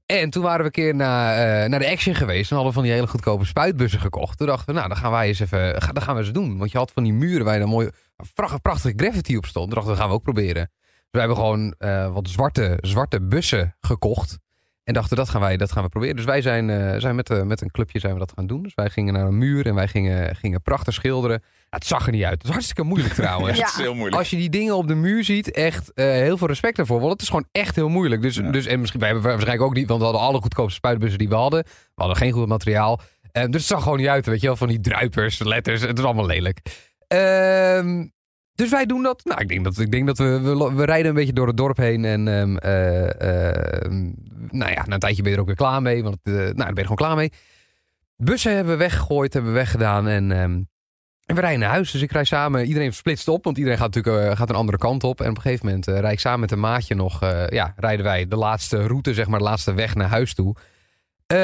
Speaker 3: En toen waren we een keer naar, eh, naar de Action geweest. En hadden we van die hele goedkope spuitbussen gekocht. Toen dachten we, nou, dan gaan wij eens even, ga, dan gaan we eens doen. Want je had van die muren waar je een mooie, pracht- prachtige graffiti op stond. Toen dachten we, dat gaan we ook proberen. Dus we hebben gewoon eh, wat zwarte, zwarte bussen gekocht. En dachten, dat gaan wij, dat gaan we proberen. Dus wij zijn, eh, zijn met, eh, met een clubje zijn we dat gaan doen. Dus wij gingen naar een muur en wij gingen, gingen prachtig schilderen. Ja, het zag er niet uit. Het is hartstikke moeilijk trouwens.
Speaker 1: oh, Echt
Speaker 2: Ja.
Speaker 1: heel moeilijk.
Speaker 3: Als je die dingen op de muur ziet, echt eh, heel veel respect daarvoor. Want het is gewoon echt heel moeilijk. Dus,
Speaker 1: Ja.
Speaker 3: dus, en misschien, wij hebben waarschijnlijk ook niet, want we hadden alle goedkoopste spuitbussen die we hadden. We hadden geen goed materiaal. Eh, dus het zag gewoon niet uit, weet je wel. Van die druipers, letters, het is allemaal lelijk. Ehm, dus wij doen dat. Nou, ik denk dat, ik denk dat we, we, lo- we rijden een beetje door het dorp heen. En ehm, eh, ehm, nou ja, na een tijdje ben je er ook weer klaar mee. Want eh, nou, daar ben je gewoon klaar mee. Bussen hebben we weggegooid, hebben we weggedaan. En ehm, en we rijden naar huis, dus ik rij samen. Iedereen splitst op, want iedereen gaat natuurlijk eh, gaat een andere kant op. En op een gegeven moment eh, rijd ik samen met een maatje nog. eh, ja, rijden wij de laatste route, zeg maar, de laatste weg naar huis toe. Ehm,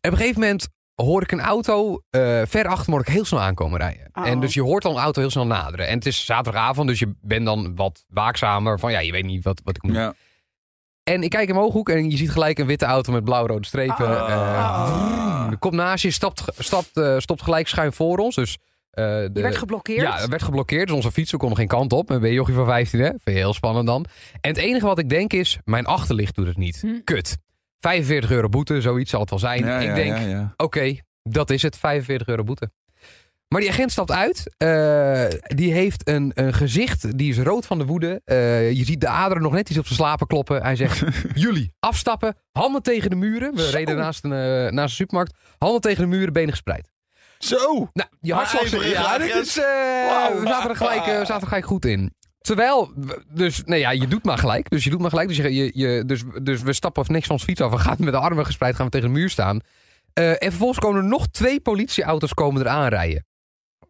Speaker 3: en op een gegeven moment hoor ik een auto eh, ver achter me hoor ik heel snel aankomen rijden.
Speaker 2: Oh.
Speaker 3: En dus je hoort al een auto heel snel naderen. En het is zaterdagavond, dus je bent dan wat waakzamer. Van ja, je weet niet wat, wat ik moet doen.
Speaker 1: Ja.
Speaker 3: En ik kijk in mijn hoek en je ziet gelijk een witte auto met blauw-rode strepen.
Speaker 2: Ah.
Speaker 3: eh,
Speaker 1: Ah.
Speaker 3: komt naast je, stapt, ge- stapt, eh, stopt gelijk schuin voor ons. Dus, eh, de,
Speaker 2: Die werd geblokkeerd.
Speaker 3: ja, het werd geblokkeerd. Dus onze fietsen konden geen kant op. En ben je jochie van 15, hè? Vind je heel spannend dan. En het enige wat ik denk is, mijn achterlicht doet het niet.
Speaker 4: Hm.
Speaker 3: Kut. 45 euro boete, zoiets zal het wel zijn.
Speaker 1: Ja,
Speaker 3: ik
Speaker 1: ja,
Speaker 3: denk,
Speaker 1: ja, ja.
Speaker 3: oké, dat is het, 45 euro boete. Maar die agent stapt uit. eh, die heeft een, een gezicht, die is rood van de woede. Eh, je ziet de aderen nog net iets op zijn slapen kloppen. Hij zegt, jullie afstappen, handen tegen de muren. We reden naast een, eh, naast een supermarkt. Handen tegen de muren, benen gespreid.
Speaker 1: Zo!
Speaker 3: Nou, je
Speaker 1: Maar
Speaker 3: hartslag...
Speaker 1: ijverige
Speaker 3: Ja, dit
Speaker 1: agent.
Speaker 3: is, eh,
Speaker 1: Wauw.
Speaker 3: we, zaten er gelijk, eh, we zaten er gelijk goed in. Terwijl, we- dus, nee ja, je doet maar gelijk. Dus je doet maar gelijk. Dus, je, je, je- dus, dus we stappen of niks van ons fiets af. We gaan met de armen gespreid, gaan we tegen de muur staan. Eh, en vervolgens komen er nog twee politieauto's komen er aanrijden.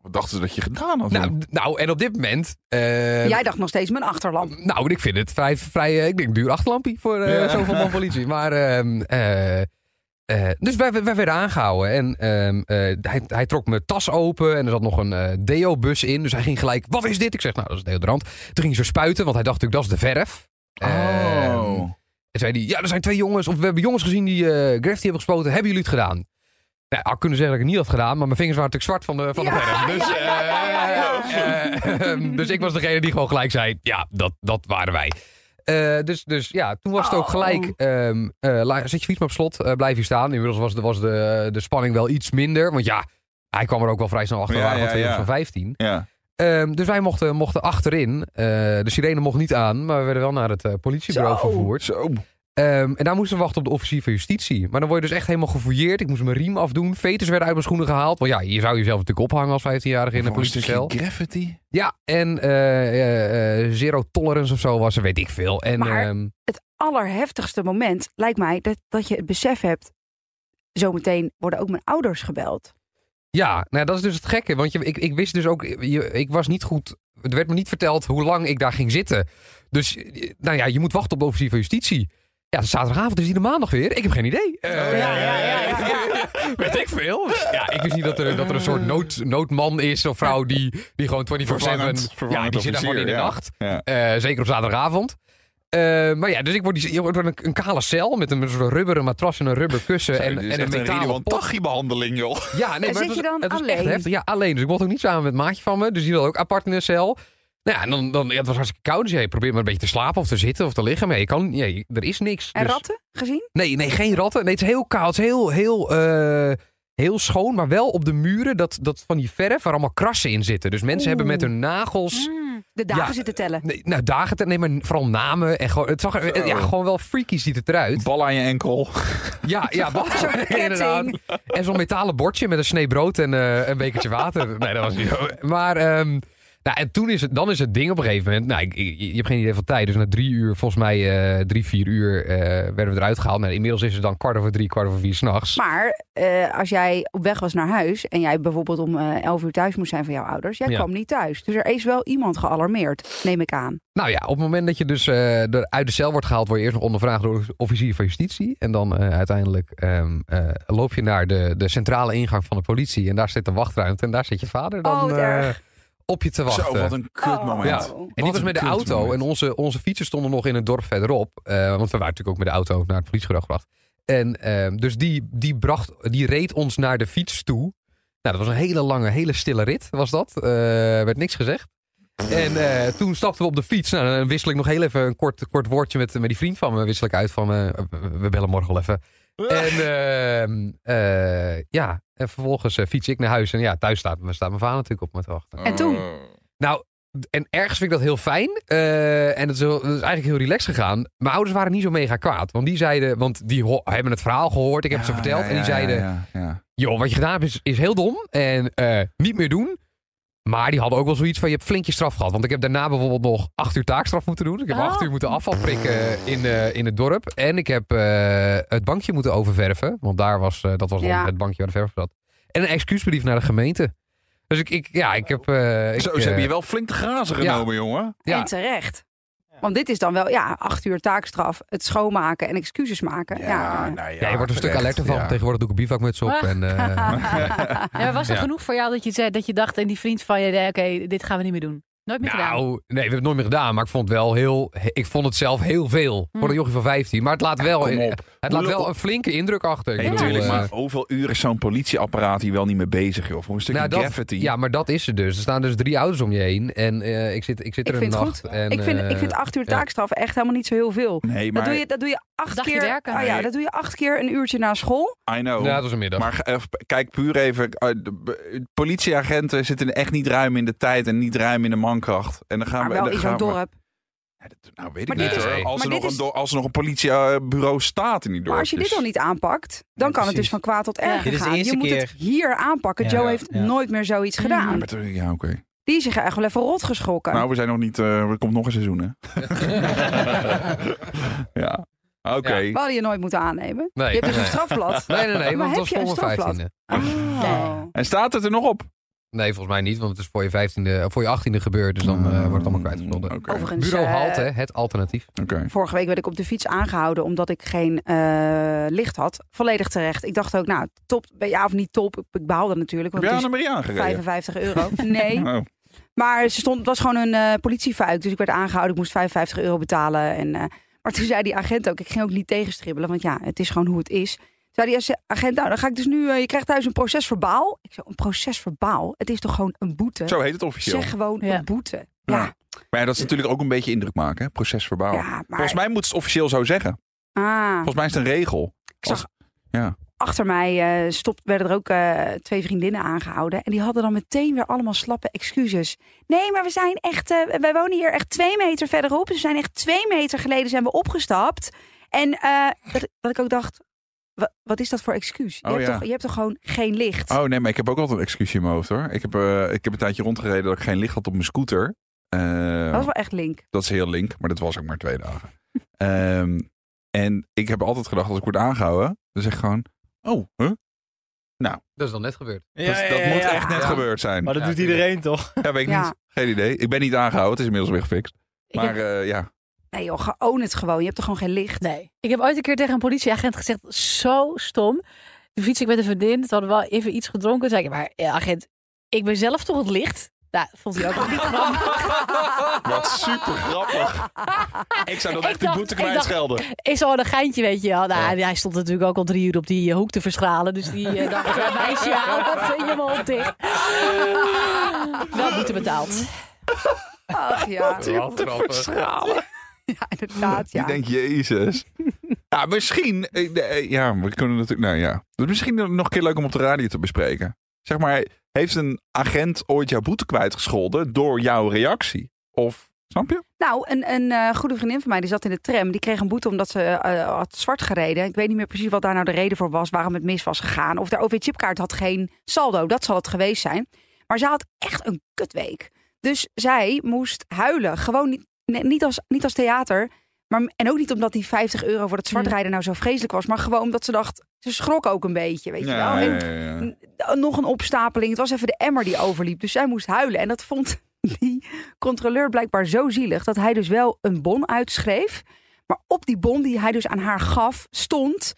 Speaker 1: Wat dachten ze dat je gedaan had?
Speaker 3: Nou, d- nou, en op dit moment... eh,
Speaker 2: Jij dacht nog steeds mijn achterland.
Speaker 3: nou, ik vind het vrij, vrij eh, ik denk, duur achterlampie voor eh,
Speaker 1: Ja.
Speaker 3: zoveel man politie. Maar, ehm, eh, eh, dus wij, wij werden aangehouden. En ehm, eh, hij, hij trok mijn tas open en er zat nog een eh deo-bus in. Dus hij ging gelijk, wat is dit? Ik zeg, nou, dat is deodorant. Toen ging hij zo spuiten, want hij dacht natuurlijk, dat is de verf. Ehm,
Speaker 1: oh.
Speaker 3: en zei die ja, er zijn twee jongens, of we hebben jongens gezien die eh graffiti hebben gespoten. Hebben jullie het gedaan? Nou, ik had kunnen zeggen dat ik het niet had gedaan, maar mijn vingers waren natuurlijk zwart van de, van de
Speaker 2: Ja,
Speaker 3: verf. Dus,
Speaker 2: ja, ja, ja, ja, ja.
Speaker 3: eh, eh, dus ik was degene die gewoon gelijk zei, ja, dat, dat waren wij. Eh, dus, dus ja, toen was het ook
Speaker 2: Oh.
Speaker 3: gelijk, ehm, eh, la- zet je fiets maar op slot, eh, blijf hier staan. Inmiddels was, de, was de, de spanning wel iets minder, want ja, hij kwam er ook wel vrij snel achter,
Speaker 1: Ja,
Speaker 3: we waren
Speaker 1: ja,
Speaker 3: van
Speaker 1: ja.
Speaker 3: van 15.
Speaker 1: Ja.
Speaker 3: Ehm, dus wij mochten, mochten achterin, eh, de sirene mocht niet aan, maar we werden wel naar het eh, politiebureau
Speaker 2: Zo.
Speaker 3: vervoerd.
Speaker 1: Zo.
Speaker 3: Ehm, en daar moesten we wachten op de officier van justitie. Maar dan word je dus echt helemaal gefouilleerd. Ik moest mijn riem afdoen. Veters werden uit mijn schoenen gehaald. Want ja, je zou jezelf natuurlijk ophangen als 15-jarige in een
Speaker 1: Voor een stukje
Speaker 3: politiecel.
Speaker 1: Graffiti.
Speaker 3: Ja, en eh, eh, eh, zero tolerance of zo was er, weet ik veel. En,
Speaker 2: Maar-
Speaker 3: ehm,
Speaker 2: Het allerheftigste moment lijkt mij dat, dat je het besef hebt. Zometeen worden ook mijn ouders gebeld.
Speaker 3: Ja, nou ja, dat is dus het gekke. Want je, ik, ik wist dus ook, je, ik was niet goed. Er werd me niet verteld hoe lang ik daar ging zitten. Dus, eh, nou ja, je moet wachten op de officier van justitie. Ja, zaterdagavond is die de maandag weer. Ik heb geen idee.
Speaker 1: Oh,
Speaker 3: Eh,
Speaker 2: ja, ja, ja, ja.
Speaker 3: Weet ik veel. Ja, ik wist niet dat er, dat er een soort nood, noodman is of vrouw die, die gewoon 24-7...
Speaker 1: Vervangend-
Speaker 3: ja,
Speaker 1: vervangend
Speaker 3: die zit daar gewoon in de
Speaker 1: officier, ja.
Speaker 3: nacht.
Speaker 1: Ja.
Speaker 3: Eh, zeker op zaterdagavond. Eh, maar ja, dus ik word, die, ik word een, een kale cel met een, soort rubberen matras en een rubber kussen en, en een metalen pot.
Speaker 1: behandeling, joh.
Speaker 3: Ja, nee, maar
Speaker 2: En
Speaker 3: het
Speaker 2: zit
Speaker 3: was,
Speaker 2: je dan
Speaker 3: het was echt
Speaker 2: alleen?
Speaker 3: heftig. Ja, alleen. Dus ik mocht ook niet samen met een maatje van me. Dus die wilde ook apart in een cel. Nou ja, en dan, dan, ja, het was hartstikke koud. Dus je probeert maar een beetje te slapen of te zitten of te liggen. Maar ja, je kan, ja, je- er is niks.
Speaker 2: En
Speaker 3: Dus-
Speaker 2: ratten gezien?
Speaker 3: Nee, nee, geen ratten. Nee, het is heel koud. Het is heel, heel, eh, heel schoon. Maar wel op de muren dat, dat van die verf waar allemaal krassen in zitten. Dus mensen hebben met hun
Speaker 2: Mm.
Speaker 3: nagels...
Speaker 2: De dagen
Speaker 3: Ja,
Speaker 2: zitten tellen.
Speaker 3: Nee, nou, dagen... te- Nee, maar vooral namen. En gewoon, het zag er,
Speaker 1: Zo.
Speaker 3: ja, gewoon wel freaky ziet het eruit.
Speaker 1: Bal aan je enkel.
Speaker 3: Ja, ja, wat
Speaker 2: Zo'n ketting.
Speaker 3: En zo'n metalen bordje met een snee brood en eh, een bekertje water. Nee, dat was niet. Maar ehm, nou, en toen is het, dan is het ding op een gegeven moment. Nou, ik, ik- je hebt geen idee van tijd. Dus na drie uur, volgens mij eh, drie, vier uur, eh, werden we eruit gehaald. Nou, inmiddels is het dan kwart over drie, kwart over vier s'nachts.
Speaker 2: Maar eh, als jij op weg was naar huis en jij bijvoorbeeld om eh 11 uur thuis moest zijn van jouw ouders, jij
Speaker 3: Ja.
Speaker 2: kwam niet thuis. Dus er is wel iemand gealarmeerd, neem ik aan.
Speaker 3: Nou ja, op het moment dat je dus eh, er uit de cel wordt gehaald, word je eerst nog ondervraagd door de officier van justitie. En dan eh, uiteindelijk ehm, eh, loop je naar de, de centrale ingang van de politie. En daar zit de wachtruimte en daar zit je vader dan
Speaker 2: Oh, wat
Speaker 3: eh,
Speaker 2: erg.
Speaker 3: op je te wachten.
Speaker 1: Zo, wat een kut moment.
Speaker 3: Oh. Ja.
Speaker 2: Oh.
Speaker 3: En die
Speaker 1: Wat
Speaker 3: was
Speaker 1: een
Speaker 3: met de
Speaker 1: kut
Speaker 3: auto.
Speaker 1: moment.
Speaker 3: En onze, onze fietsen stonden nog in het dorp verderop. eh, want we waren natuurlijk ook met de auto naar het politiebureau gebracht. En ehm, dus die, die, bracht, die reed ons naar de fiets toe. Nou, dat was een hele lange, hele stille rit was dat. Eh werd niks gezegd. En eh, toen stapten we op de fiets. Nou, dan wissel ik nog heel even een kort, kort woordje met, met die vriend van me. Wissel ik uit van, eh, we bellen morgen wel even.
Speaker 5: Eh,
Speaker 3: En ehm, eh, ja, en vervolgens eh, fiets ik naar huis. En ja, thuis staat, staat mijn vader natuurlijk op me te wachten.
Speaker 4: En toen?
Speaker 1: Oh.
Speaker 3: Nou, en ergens vind ik dat heel fijn. eh, en dat is, heel- dat is eigenlijk heel relaxed gegaan. Mijn ouders waren niet zo mega kwaad. Want die zeiden, want die ho- hebben het verhaal gehoord. Ik heb het ze verteld. en die zeiden,
Speaker 1: Ja, ja, ja.
Speaker 3: joh, wat je gedaan hebt is, is heel dom. En eh, niet meer doen. Maar die hadden ook wel zoiets van, je hebt flink je straf gehad. Want ik heb daarna bijvoorbeeld nog acht uur taakstraf moeten doen. Ik heb
Speaker 4: Oh.
Speaker 3: acht uur moeten afvalprikken in, eh, in het dorp. En ik heb eh, het bankje moeten oververven. Want daar was, eh, dat was dan
Speaker 2: Ja.
Speaker 3: het bankje waar de verf zat. En een excuusbrief naar de gemeente. Dus ik, ik ja, ik heb... eh, ik,
Speaker 1: Zo, ze
Speaker 3: eh,
Speaker 1: hebben je wel flink te grazen
Speaker 3: ja.
Speaker 1: genomen, jongen.
Speaker 3: Ja.
Speaker 2: En terecht. Want dit is dan wel, ja, acht uur taakstraf. Het schoonmaken en excuses maken. Ja,
Speaker 1: nou
Speaker 3: Ja, je wordt een stuk
Speaker 1: terecht,
Speaker 3: alerter van.
Speaker 1: ja.
Speaker 3: Tegenwoordig doe ik een bivakmuts op.
Speaker 4: Ah.
Speaker 3: En, eh,
Speaker 4: Ja, maar was er
Speaker 3: Ja.
Speaker 4: genoeg voor jou dat je, zei, dat je dacht en die vriend van je, nee, oké, dit gaan we niet meer doen. Nooit meer gedaan.
Speaker 3: nou, nee, we hebben het nooit meer gedaan. Maar ik vond, het wel heel, ik vond het zelf heel veel.
Speaker 2: Mm.
Speaker 3: Voor een jochie van 15. Maar het laat wel,
Speaker 1: kom op.
Speaker 3: het laat
Speaker 1: Hoe-
Speaker 3: wel een flinke indruk achter. Ik
Speaker 1: Nee,
Speaker 3: Oh, bedoel,
Speaker 1: natuurlijk,
Speaker 3: eh,
Speaker 1: maar hoeveel uur is zo'n politieapparaat hier wel niet mee bezig, joh? Voor een stukje
Speaker 3: nou, dat-
Speaker 1: graffiti.
Speaker 3: ja, maar dat is het dus. Er staan dus drie ouders om je heen. En eh, ik, zit, ik zit er
Speaker 2: Ik
Speaker 3: een
Speaker 2: vind het
Speaker 3: nacht.
Speaker 2: goed.
Speaker 3: En,
Speaker 2: ik, vind, ik
Speaker 3: eh,
Speaker 2: vind acht uur
Speaker 3: ja.
Speaker 2: taakstraf echt helemaal niet zo heel veel.
Speaker 1: Nee, maar
Speaker 2: Dat doe, je, dat doe je acht
Speaker 4: Dagje
Speaker 2: keer.
Speaker 4: werken.
Speaker 2: Oh ja,
Speaker 1: Nee.
Speaker 2: dat doe je acht keer een uurtje na school.
Speaker 1: I know.
Speaker 3: Ja, Nou, het was een middag.
Speaker 1: Oh. Maar eh, kijk puur even. eh, de- de politieagenten zitten echt niet ruim in de tijd en niet ruim in de mankracht. En dan gaan
Speaker 2: Maar
Speaker 1: we.
Speaker 2: Ah, wel
Speaker 1: dan
Speaker 2: in
Speaker 1: gaan
Speaker 2: zo'n
Speaker 1: we-
Speaker 2: dorp.
Speaker 1: Ja, dat- nou, weet ik
Speaker 2: Maar
Speaker 1: niet.
Speaker 3: dit is-
Speaker 1: hoor. als,
Speaker 2: maar
Speaker 1: er nog
Speaker 2: dit
Speaker 1: een,
Speaker 2: is-
Speaker 1: do- als er nog een politiebureau staat in die dorp.
Speaker 2: Maar als je dit al niet aanpakt, dan kan het dus
Speaker 5: dus precies.
Speaker 2: van kwaad tot
Speaker 4: Ja.
Speaker 2: erger
Speaker 5: Dit is de
Speaker 2: gaan. Je
Speaker 5: eerste
Speaker 2: moet het
Speaker 5: keer.
Speaker 2: hier aanpakken.
Speaker 5: Ja,
Speaker 2: Joe
Speaker 5: ja,
Speaker 2: heeft
Speaker 5: ja.
Speaker 2: nooit meer zoiets
Speaker 4: Mm.
Speaker 2: gedaan.
Speaker 1: Ja, oké.
Speaker 2: Die is zich echt wel even rot geschrokken.
Speaker 1: Nou, we zijn nog niet. eh, er komt nog een seizoen, hè? ja. Oké.
Speaker 2: we hadden je nooit moeten aannemen.
Speaker 3: Nee.
Speaker 2: Je hebt dus een
Speaker 3: Nee.
Speaker 2: strafblad.
Speaker 3: Nee, nee, nee,
Speaker 2: Maar
Speaker 3: want het was
Speaker 2: heb je
Speaker 3: voor
Speaker 2: een
Speaker 3: mijn
Speaker 2: strafblad?
Speaker 3: vijftiende.
Speaker 2: Oh.
Speaker 1: En staat het er nog op?
Speaker 3: Nee, volgens mij niet, want het is voor je vijftiende, eh, voor je achttiende gebeurd. Dus dan eh, wordt het
Speaker 1: Hmm.
Speaker 3: allemaal kwijtgescholden.
Speaker 1: Oké.
Speaker 2: Overigens,
Speaker 3: Bureau
Speaker 2: eh,
Speaker 3: Halte, het alternatief.
Speaker 1: Oké.
Speaker 2: Vorige week werd ik op de fiets aangehouden omdat ik geen eh, licht had. Volledig terecht. Ik dacht ook, nou, top, ja of niet top. Ik behaalde natuurlijk,
Speaker 1: Heb
Speaker 2: want
Speaker 1: jij
Speaker 2: het is
Speaker 1: Annemarie aangereden?
Speaker 2: 55 euro. Nee,
Speaker 1: Oh.
Speaker 2: maar ze stond, het was gewoon een eh politiefuik. Dus ik werd aangehouden, ik moest 55 euro betalen. En, eh, maar toen zei die agent ook, ik ging ook niet tegenstribbelen. Want ja, het is gewoon hoe het is. Zei die agent, nou dan ga ik dus nu, eh, je krijgt thuis een proces verbaal. Ik zei, een proces verbaal? Het is toch gewoon een boete?
Speaker 1: Zo heet het officieel.
Speaker 2: zeg gewoon
Speaker 4: Ja.
Speaker 2: een boete.
Speaker 1: Ja.
Speaker 2: Ja,
Speaker 1: Maar ja, dat is natuurlijk ook een beetje indruk maken, hè? procesverbaal.
Speaker 2: ja, maar...
Speaker 1: Volgens mij moet het officieel zo zeggen.
Speaker 2: Ah.
Speaker 1: Volgens mij is het een regel.
Speaker 2: Ik zag
Speaker 1: Als- ja.
Speaker 2: achter mij eh stopt, werden er ook eh, twee vriendinnen aangehouden. En die hadden dan meteen weer allemaal slappe excuses. Nee, maar we zijn echt, eh, wij wonen hier echt twee meter verderop. Dus we zijn echt twee meter geleden zijn we opgestapt. En eh, dat, dat ik ook dacht, wa- wat is dat voor excuus? Je,
Speaker 1: Oh,
Speaker 2: hebt
Speaker 1: ja.
Speaker 2: toch, je hebt toch gewoon geen licht?
Speaker 1: Oh nee, maar ik heb ook altijd een excuusje in mijn hoofd hoor. Ik heb, eh, ik heb een tijdje rondgereden dat ik geen licht had op mijn scooter. Eh,
Speaker 2: Dat is wel echt link.
Speaker 1: dat is heel link, maar dat was ook maar twee dagen. Ehm, en ik heb altijd gedacht, als ik word aangehouden, dan zeg ik gewoon... Oh, huh?
Speaker 3: Dat is dan net gebeurd.
Speaker 1: dat, dat moet echt net
Speaker 3: Ja.
Speaker 1: gebeurd zijn.
Speaker 5: Maar dat
Speaker 3: Ja,
Speaker 5: doet
Speaker 3: tuurlijk.
Speaker 5: iedereen toch?
Speaker 1: Ja, weet ik
Speaker 2: Ja.
Speaker 1: niet. Geen idee. Ik ben niet aangehouden. Het is inmiddels weer gefixt.
Speaker 4: Ik
Speaker 1: Maar
Speaker 4: heb-
Speaker 1: eh, ja.
Speaker 2: Nee joh, ge- own het gewoon. Je hebt toch gewoon geen licht?
Speaker 4: Nee. Ik heb ooit een keer tegen een politieagent gezegd, zo stom. Toen fiets ik met een vriendin, toen hadden we wel even iets gedronken. Toen zei ik, maar eh, agent, ik ben zelf toch het licht? Nou, vond hij ook niet grappig.
Speaker 1: Wat super grappig. Ik zou dat
Speaker 4: Ik
Speaker 1: echt de
Speaker 4: dacht-
Speaker 1: boete
Speaker 4: ik dacht-
Speaker 1: kwijtschelden.
Speaker 4: Is al een geintje, weet je wel. Nou, Hij stond natuurlijk ook al drie uur op die eh, hoek te verschalen. Dus die eh, dacht, eh, meisje, hou dat helemaal op dicht. Wel boete betaald.
Speaker 2: Ach ja, ja inderdaad. Ja.
Speaker 1: Ik denk, jezus. ja, misschien. eh, de- eh, Ja, we kunnen natuurlijk. Nou ja. Dus misschien nog een keer leuk om op de radio te bespreken. Zeg maar, heeft een agent ooit jouw boete kwijtgescholden door jouw reactie? Of, snap je?
Speaker 2: Nou, een, een eh, goede vriendin van mij die zat in de tram. Die kreeg een boete omdat ze eh, had zwart gereden. Ik weet niet meer precies wat daar nou de reden voor was. Waarom het mis was gegaan. Of de OV-chipkaart had geen saldo. Dat zal het geweest zijn. Maar ze had echt een kutweek. Dus zij moest huilen. Gewoon niet, ne- niet, als, niet als theater. Maar, en ook niet omdat die 50 euro voor het zwartrijden nou zo vreselijk was. Maar gewoon omdat ze dacht... Ze schrok ook een beetje, weet je wel. En Mm, n- nog een opstapeling. Het was even de emmer die overliep. Dus zij moest huilen. En dat vond die controleur blijkbaar zo zielig dat hij dus wel een bon uitschreef. Maar op die bon die hij dus aan haar gaf, stond: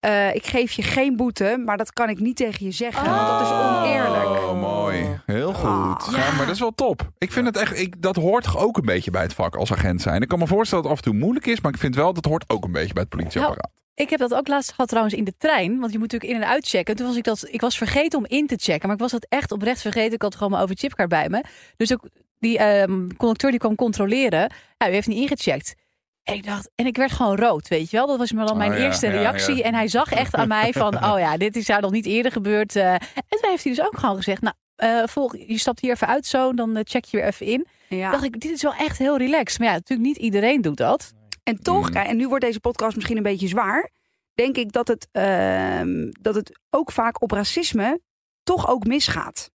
Speaker 2: eh, Ik geef je geen boete, maar dat kan ik niet tegen je zeggen. Want oh, dat is oneerlijk.
Speaker 1: Oh, mooi. Heel goed.
Speaker 2: Ah.
Speaker 1: Ja, maar dat is wel top. Ik vind het echt, ik, dat hoort toch ook een beetje bij het vak als agent zijn. Ik kan me voorstellen dat het af en toe moeilijk is, maar ik vind wel dat hoort ook een beetje bij het politieapparaat.
Speaker 4: Ik heb dat ook laatst gehad trouwens in de trein. Want je moet natuurlijk in- en uitchecken. Toen was ik dat. Ik was vergeten om in te checken. Maar ik was dat echt oprecht vergeten. Ik had gewoon mijn overchipkaart bij me. Dus ook, die ehm, conducteur die kwam controleren. Ja, u heeft niet ingecheckt. En ik dacht, en ik werd gewoon rood, weet je wel. Dat was me dan mijn
Speaker 1: Oh ja,
Speaker 4: eerste
Speaker 1: ja,
Speaker 4: reactie.
Speaker 1: ja.
Speaker 4: En hij zag echt aan mij van, oh ja, dit is daar nog niet eerder gebeurd. eh. en toen heeft hij dus ook gewoon gezegd, nou, eh, volg, je stapt hier even uit zo, dan eh, check je weer even in.
Speaker 2: Ja.
Speaker 4: dacht ik, dit is wel echt heel relaxed. Maar ja, natuurlijk niet iedereen doet dat.
Speaker 2: En toch,
Speaker 1: Mm.
Speaker 2: kijk, en nu wordt deze podcast misschien een beetje zwaar. Denk ik dat het, ehm, dat het ook vaak op racisme toch ook misgaat.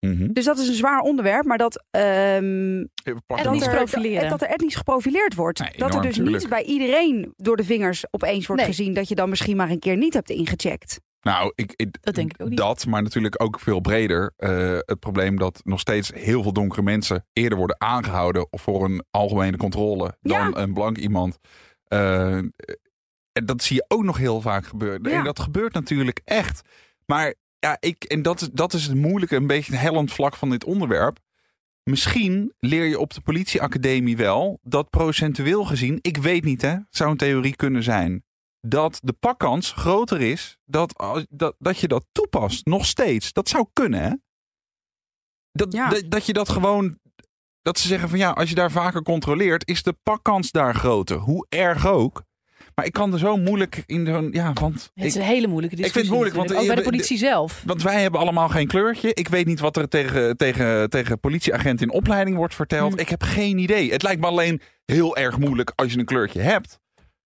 Speaker 1: Mhm.
Speaker 2: Dus dat is een zwaar onderwerp, maar dat, ehm,
Speaker 1: Even pakken.
Speaker 4: Etnisch
Speaker 2: dat, er,
Speaker 4: profileren.
Speaker 2: dat er etnisch geprofileerd wordt.
Speaker 1: Nee,
Speaker 2: dat er
Speaker 1: enorm,
Speaker 2: dus
Speaker 1: tuurlijk.
Speaker 2: niet bij iedereen door de vingers opeens wordt
Speaker 4: Nee.
Speaker 2: gezien dat je dan misschien maar een keer niet hebt ingecheckt.
Speaker 1: Nou, ik, ik-
Speaker 4: Dat denk ik ook niet.
Speaker 1: Dat, maar natuurlijk ook veel breder. eh, het probleem dat nog steeds heel veel donkere mensen eerder worden aangehouden voor een algemene controle
Speaker 2: Ja.
Speaker 1: dan een blank iemand. Eh, en dat zie je ook nog heel vaak gebeuren.
Speaker 2: Ja.
Speaker 1: En dat gebeurt natuurlijk echt. Maar ja, ik, en dat, is- dat is het moeilijke, een beetje het hellend vlak van dit onderwerp. Misschien leer je op de politieacademie wel dat procentueel gezien, ik weet niet hè, zou een theorie kunnen zijn, dat de pakkans groter is dat, als- dat, dat je dat toepast, nog steeds. Dat zou kunnen hè. Dat,
Speaker 2: Ja.
Speaker 1: dat, dat je dat gewoon, dat ze zeggen van ja, als je daar vaker controleert, is de pakkans daar groter. Hoe erg ook. Maar ik kan er zo moeilijk in zo'n, ja, want...
Speaker 4: Het is
Speaker 1: ik-
Speaker 4: een hele moeilijke
Speaker 1: ik vind
Speaker 4: discussie.
Speaker 1: het moeilijk, want
Speaker 4: natuurlijk. ook
Speaker 1: je-
Speaker 4: bij de politie zelf.
Speaker 1: want wij hebben allemaal geen kleurtje. Ik weet niet wat er tegen, tegen, tegen politieagenten in opleiding wordt verteld.
Speaker 4: Hm.
Speaker 1: Ik heb geen idee. Het lijkt me alleen heel erg moeilijk als je een kleurtje hebt.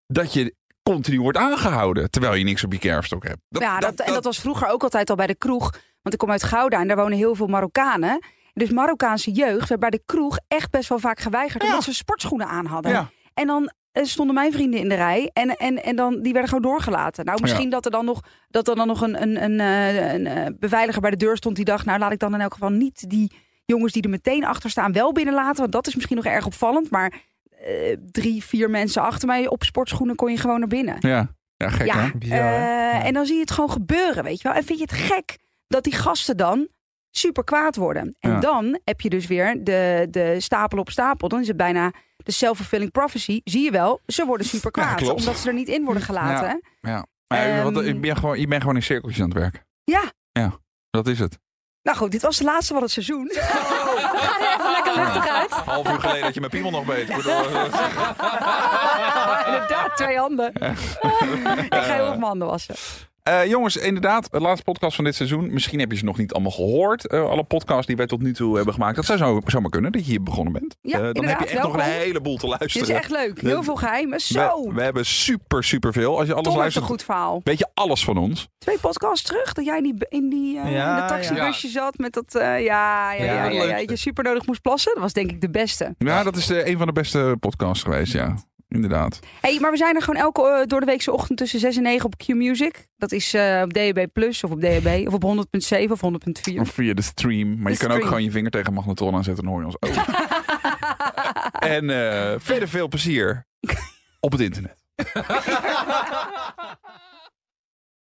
Speaker 1: Dat je continu wordt aangehouden. Terwijl je niks op je kerfstok hebt. Dat-
Speaker 2: ja, dat,
Speaker 1: dat-
Speaker 2: en dat was vroeger ook altijd al bij de kroeg. Want ik kom uit Gouda en daar wonen heel veel Marokkanen. Dus Marokkaanse jeugd werd bij de kroeg echt best wel vaak geweigerd.
Speaker 1: Ja.
Speaker 2: Omdat ze sportschoenen aan hadden.
Speaker 1: Ja.
Speaker 2: En dan eh, stonden mijn vrienden in de rij. En, en, en dan, die werden gewoon doorgelaten. Nou, misschien dat er dan nog, dat er dan nog een, een, een, eh, een eh, beveiliger bij de deur stond die dacht... nou, laat ik dan in elk geval niet die jongens die er meteen achter staan wel binnenlaten. Want dat is misschien nog erg opvallend. Maar eh, drie, vier mensen achter mij op sportschoenen kon je gewoon naar binnen.
Speaker 1: Ja, ja gek hè?
Speaker 2: Ja,
Speaker 5: Bizar,
Speaker 2: eh,
Speaker 5: hè? Ja.
Speaker 2: en dan zie je het gewoon gebeuren, weet je wel. En vind je het gek dat die gasten dan super kwaad worden? En
Speaker 1: Ja.
Speaker 2: dan heb je dus weer de, de stapel op stapel. Dan is het bijna de self-fulfilling prophecy. Zie je wel, ze worden super
Speaker 1: Ja,
Speaker 2: kwaad.
Speaker 1: klopt.
Speaker 2: omdat ze er niet in worden gelaten. Ja,
Speaker 1: Maar ja,
Speaker 2: Ehm,
Speaker 1: want eh, je, bent gewoon, je bent gewoon in cirkeltjes aan het werken. Dat is het.
Speaker 2: nou goed, dit was de laatste van het seizoen.
Speaker 4: Oh. We gaan er even lekker luchtig uit.
Speaker 1: Half uur geleden dat je mijn piemel nog beet.
Speaker 2: Inderdaad, twee handen. Ik ga heel op mijn handen wassen.
Speaker 1: Eh, jongens, inderdaad, de laatste podcast van dit seizoen. Misschien heb je ze nog niet allemaal gehoord. eh, alle podcasts die wij tot nu toe hebben gemaakt. Dat zou zo, zomaar kunnen, dat je hier begonnen bent.
Speaker 2: Ja,
Speaker 1: Eh, dan heb
Speaker 2: inderdaad,
Speaker 1: je echt nog
Speaker 2: welkom.
Speaker 1: een heleboel te
Speaker 2: Dit
Speaker 1: luisteren.
Speaker 2: is echt leuk. Heel veel geheimen. Zo,
Speaker 1: we, we hebben super, super veel. Als je alles
Speaker 2: Tom heeft een
Speaker 1: luistert,
Speaker 2: goed verhaal.
Speaker 1: weet je alles van ons.
Speaker 2: Twee podcasts terug dat jij in die, in die eh,
Speaker 5: Ja,
Speaker 2: in dat taxibusje zat met dat eh, ja, ja,
Speaker 5: Ja,
Speaker 2: ja, ja,
Speaker 5: leuk.
Speaker 2: ja, dat je super nodig moest plassen. Dat was denk ik de beste.
Speaker 1: Ja, dat is eh, een van de beste podcasts geweest, ja. Inderdaad.
Speaker 2: Hey, maar we zijn er gewoon elke eh, door de weekse ochtend tussen 6 en 9 op Q Music. Dat is eh, op DAB Plus of op DAB of op 100.7 of 100.4.
Speaker 1: Of via de stream. Maar je
Speaker 2: De
Speaker 1: kan ook
Speaker 2: stream.
Speaker 1: gewoon je vinger tegen een magnetron aanzetten en hoor je ons ook. en eh, verder veel plezier op het internet.